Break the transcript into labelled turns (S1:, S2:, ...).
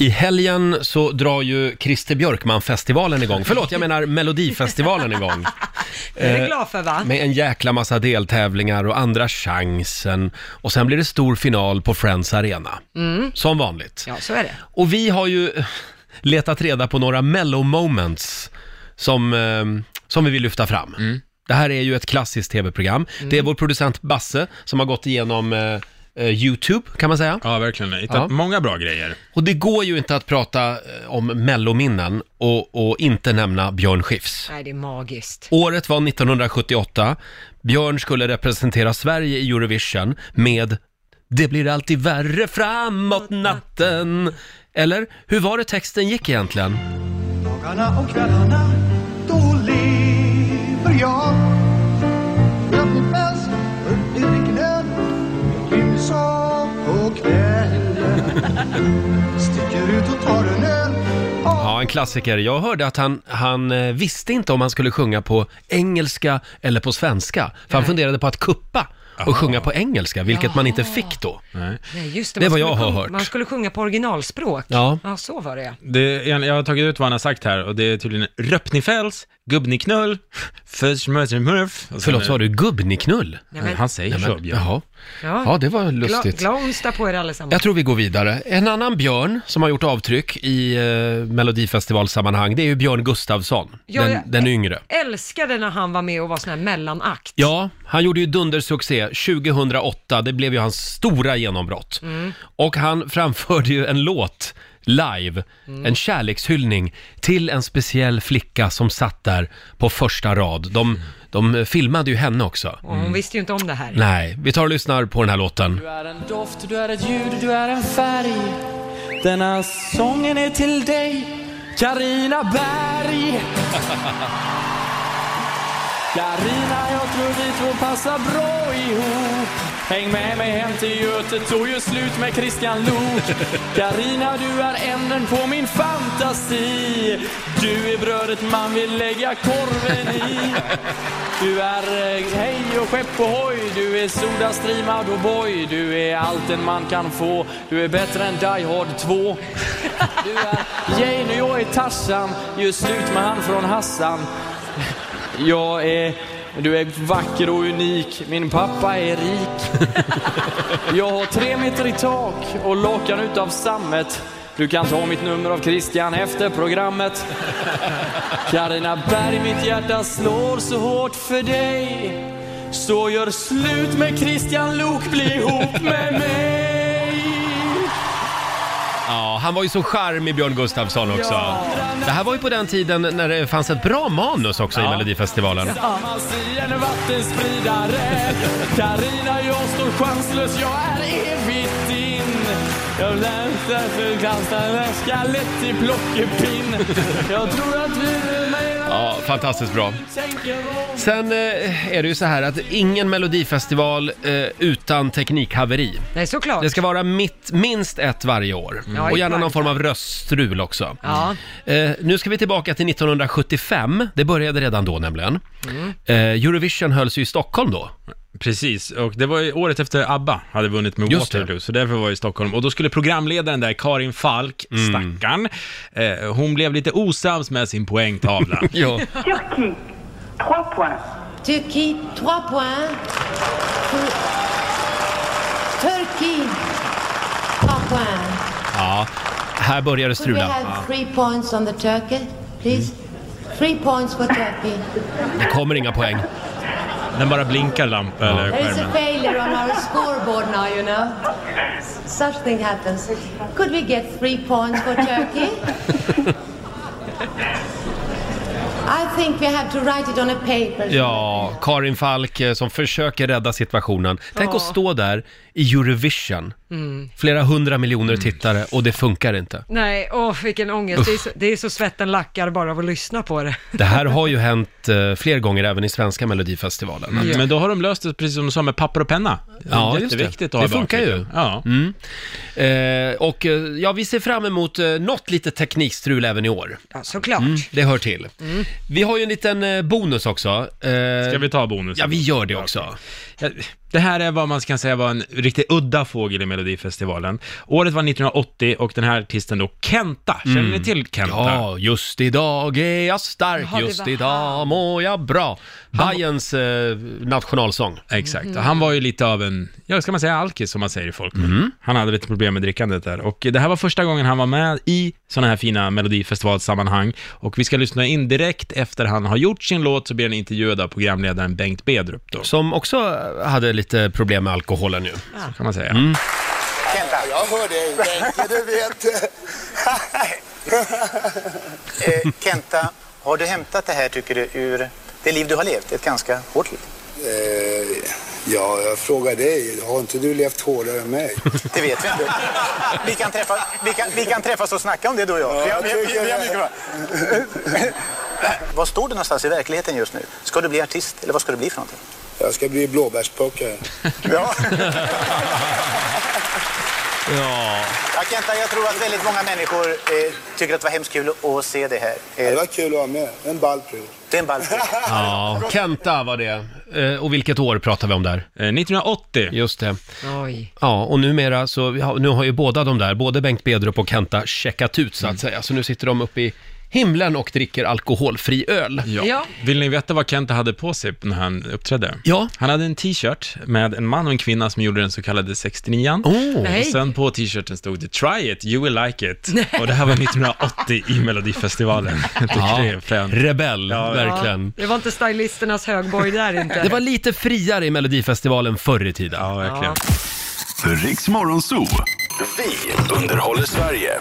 S1: I helgen så drar ju Christer Björkman-festivalen igång. Förlåt, jag menar Melodifestivalen igång.
S2: Det är
S1: Eh,
S2: jag glad för va?
S1: Med en jäkla massa deltävlingar och andra chansen. Och sen blir det stor final på Friends Arena. Som vanligt.
S2: Mm. Ja, så är det.
S1: Och vi har ju eh, letat reda på några mellow moments som, eh, som vi vill lyfta fram. Det här är ju ett klassiskt tv-program.
S2: Mm.
S1: Det är vår producent Basse som har gått igenom eh, eh, YouTube, kan man säga.
S3: Ja, verkligen. Hittat
S1: Ja.
S3: många bra grejer.
S1: Och det går ju inte att prata eh, om mellominnen och, och inte nämna Björn Skifs.
S2: Nej, det är magiskt.
S1: Året var 1978. Björn skulle representera Sverige i Eurovision med “Det blir alltid värre framåt natten”. Eller hur var det texten gick egentligen?
S4: Dagarna och kvällarna, då lever jag. Upp mot päls, upp i ryggen, gymsal på kvällen. Sticker ut och tar en öl.
S1: Ja, en klassiker. Jag hörde att han, han eh, visste inte om han skulle sjunga på engelska eller på svenska. För han funderade på att kuppa och sjunga på engelska, vilket man inte fick då.
S3: Nej.
S2: Nej, just det,
S1: Det
S2: man
S1: var jag
S2: skulle
S1: har
S2: sjung-
S1: hört.
S2: Man skulle sjunga på originalspråk.
S1: Ja.
S2: ja så var det ja.
S3: Det, jag jag har tagit ut vad han har sagt här och det är tydligen Röppnifäls, Gubbniknull, Försmörsemurf.
S1: Förlåt, sa du gubbniknull?
S2: Nej, men,
S3: Han säger
S1: Nej, men,
S3: så, Björn.
S1: jaha. Ja, det var lustigt.
S2: Glad onsdag på er allesammans.
S1: Jag tror vi går vidare. En annan Björn som har gjort avtryck i eh, Melodifestivalsammanhang, det är ju Björn Gustafsson,
S2: Ja,
S1: den,
S2: jag-
S1: den yngre.
S2: Älskade när han var med och var sån här mellanakt.
S1: Ja, han gjorde ju dundersuccé 2008, det blev ju hans stora genombrott.
S2: Mm.
S1: Och han framförde ju en låt live,
S2: Mm.
S1: en kärlekshyllning till en speciell flicka som satt där på första rad. De, de filmade ju henne också.
S2: Och hon visste ju inte om det här.
S1: Mm. Nej, vi tar och lyssnar på den här låten.
S5: Du är en doft, du är ett ljud, du är en färg Denna sången är till dig Karina Berg Karina, jag tror vi två passar bra ihop Häng med mig hem till Göte, tog ju slut med Christian Lok Karina, du är änden på min fantasi Du är brödet man vill lägga korven i du är eh, hej och skepp och hoj Du är Soda Stream Out och boy Du är allt en man kan få Du är bättre än Die Hard 2 Du är Jane och jag är Tarzan Gör slut med han från Hassan Jag är Du är vacker och unik Min pappa är rik Jag har tre meter i tak Och lakan utav sammet du kan ta mitt nummer av Christian efter programmet. Carina Berg, mitt hjärta slår så hårt för dig Så gör slut med Christian Lok, bli ihop med mig
S1: Ja, han var ju så charmig Björn Gustafsson också.
S5: Ja.
S1: Det här var ju på den tiden när det fanns ett bra manus också i Melodifestivalen.
S5: Tillsammans i en vattenspridare Carina, jag står chanslös, jag är evigt din Jag längtar för kastar skalett i plockepinn Jag tror att vi är med
S1: Ja, fantastiskt bra.
S5: tänker om
S1: Sen eh, är det ju så här att ingen Melodifestival eh, utan teknikhaveri.
S2: Nej, såklart.
S1: Det ska vara mitt, minst ett varje år.
S2: Mm. Ja,
S1: Och gärna
S2: exakt.
S1: någon form av röststrul också.
S2: Ja.
S1: Eh, nu ska vi tillbaka till 1975. Det började redan då nämligen.
S2: Mm.
S1: Eh, Eurovision hölls ju i Stockholm då.
S3: Precis, och det var ju året efter ABBA hade vunnit med
S1: Just det.
S3: Waterloo, så därför var jag i Stockholm. Och då skulle programledaren där, Karin Falk,
S1: Mm.
S3: stackarn, eh, hon blev lite osams med sin poängtavla.
S1: Ja.
S6: Turquie, 3 points.
S7: Turquie, 3 points. Tur- Turkey, 3 points.
S1: ja. Här började
S7: Could we
S1: strulan.
S7: have 3 points on the turkey, please? 3 points for Turkey.
S1: Det kommer inga poäng.
S3: Den bara blinkar lampan eller
S7: There is a
S3: skärmen.
S7: failure on our scoreboard now, you know. Such thing happens. Could we get 3 points for Turkey? I think we have to write it on a paper.
S1: Ja, Karin Falk eh, som försöker rädda situationen. Tänk att stå där i Eurovision, flera hundra miljoner
S3: Mm.
S1: tittare och det funkar inte.
S2: Nej, åh vilken ångest. Det är, så, det är så svetten lackar bara av att lyssna på det.
S1: Det här har ju hänt eh, fler gånger även i svenska melodifestivalen.
S2: Ja.
S3: Men då har de löst det precis som du sa med papper och penna. Det är
S1: Ja, just det.
S3: jätteviktigt att ha
S1: Det
S3: i bakhuvudet.
S1: funkar ju. Mm.
S3: Ja.
S1: Eh, och eh, ja, vi ser fram emot eh, något litet teknikstrul även i år.
S2: Ja, såklart.
S1: Det hör till. Vi har ju en liten eh, bonus också. Eh,
S3: Mm. Ska vi ta bonusen?
S1: Ja, vi gör det också.
S3: Ja, Eh, Det här är vad man kan säga var en riktigt udda fågel i Melodifestivalen. Året var 1980 och den här artisten då, Kenta. Känner ni till Kenta?
S1: Ja, just idag är jag stark,
S2: Jaha, det
S1: just
S2: var
S1: idag
S2: han.
S1: mår jag bra. Bajens eh, nationalsång.
S3: Exakt, och han var ju lite av en, ja ska man säga alkis som man säger i folkmun. Han hade lite problem med drickandet där. Och det här var första gången han var med i sådana här fina melodifestivalsammanhang. Och vi ska lyssna in direkt efter han har gjort sin låt så blir han intervjuad av programledaren Bengt Bedrup då,
S1: Som också hade lite problem med alkoholen nu.
S3: kan man säga.
S8: Vänta, jag hör dig Bengt. Du vet. eh, Kenta, har du hämtat det här tycker du ur det liv du har levt? Ett ganska hårt liv.
S9: Eh, Ja, jag frågar dig. Har inte du levt hårdare än mig?
S8: Det vet vi inte. Vi kan, träffa, vi kan, vi kan träffas och snacka om det du och jag. Vi har- vi har- vi har mycket bra. Vad står du någonstans i verkligheten just nu? Ska du bli artist eller vad ska du bli för någonting?
S9: Jag ska bli blåbärsplockare.
S8: Ja.
S1: Ja.
S8: Ja, Kenta, jag tror att väldigt många människor eh, tycker att det var hemskt kul att se det här.
S9: Det
S8: Eh,
S9: var kul att vara med. En ball prov.
S8: det är en balk.
S1: ja, Kenta var det. Eh, och vilket år pratar vi om där?
S3: Eh, 1980.
S1: Just det.
S2: Oj.
S1: Ja, och numera så, vi har- nu har ju båda de där, både Bengt Bedrup och Kenta, checkat ut så att säga. Så nu sitter de uppe i himlen och dricker alkoholfri öl.
S2: Ja.
S3: Vill ni veta vad Kenta hade på sig när han uppträdde?
S1: Ja.
S3: Han hade en t-shirt med en man och en kvinna som gjorde den så kallade 69an.
S2: Oh. Nej.
S3: Och sen på t-shirten stod det “Try it, you will like it”. Och det här var 1980 i Melodifestivalen. Jag tycker det är fränt.
S1: Rebell,
S3: Ja, ja.
S1: verkligen.
S2: Det var inte stylisternas högborg där inte.
S1: Det var lite friare i Melodifestivalen förr i tiden.
S3: Ja, verkligen.
S10: Riks Morgonzoo. Vi underhåller Sverige.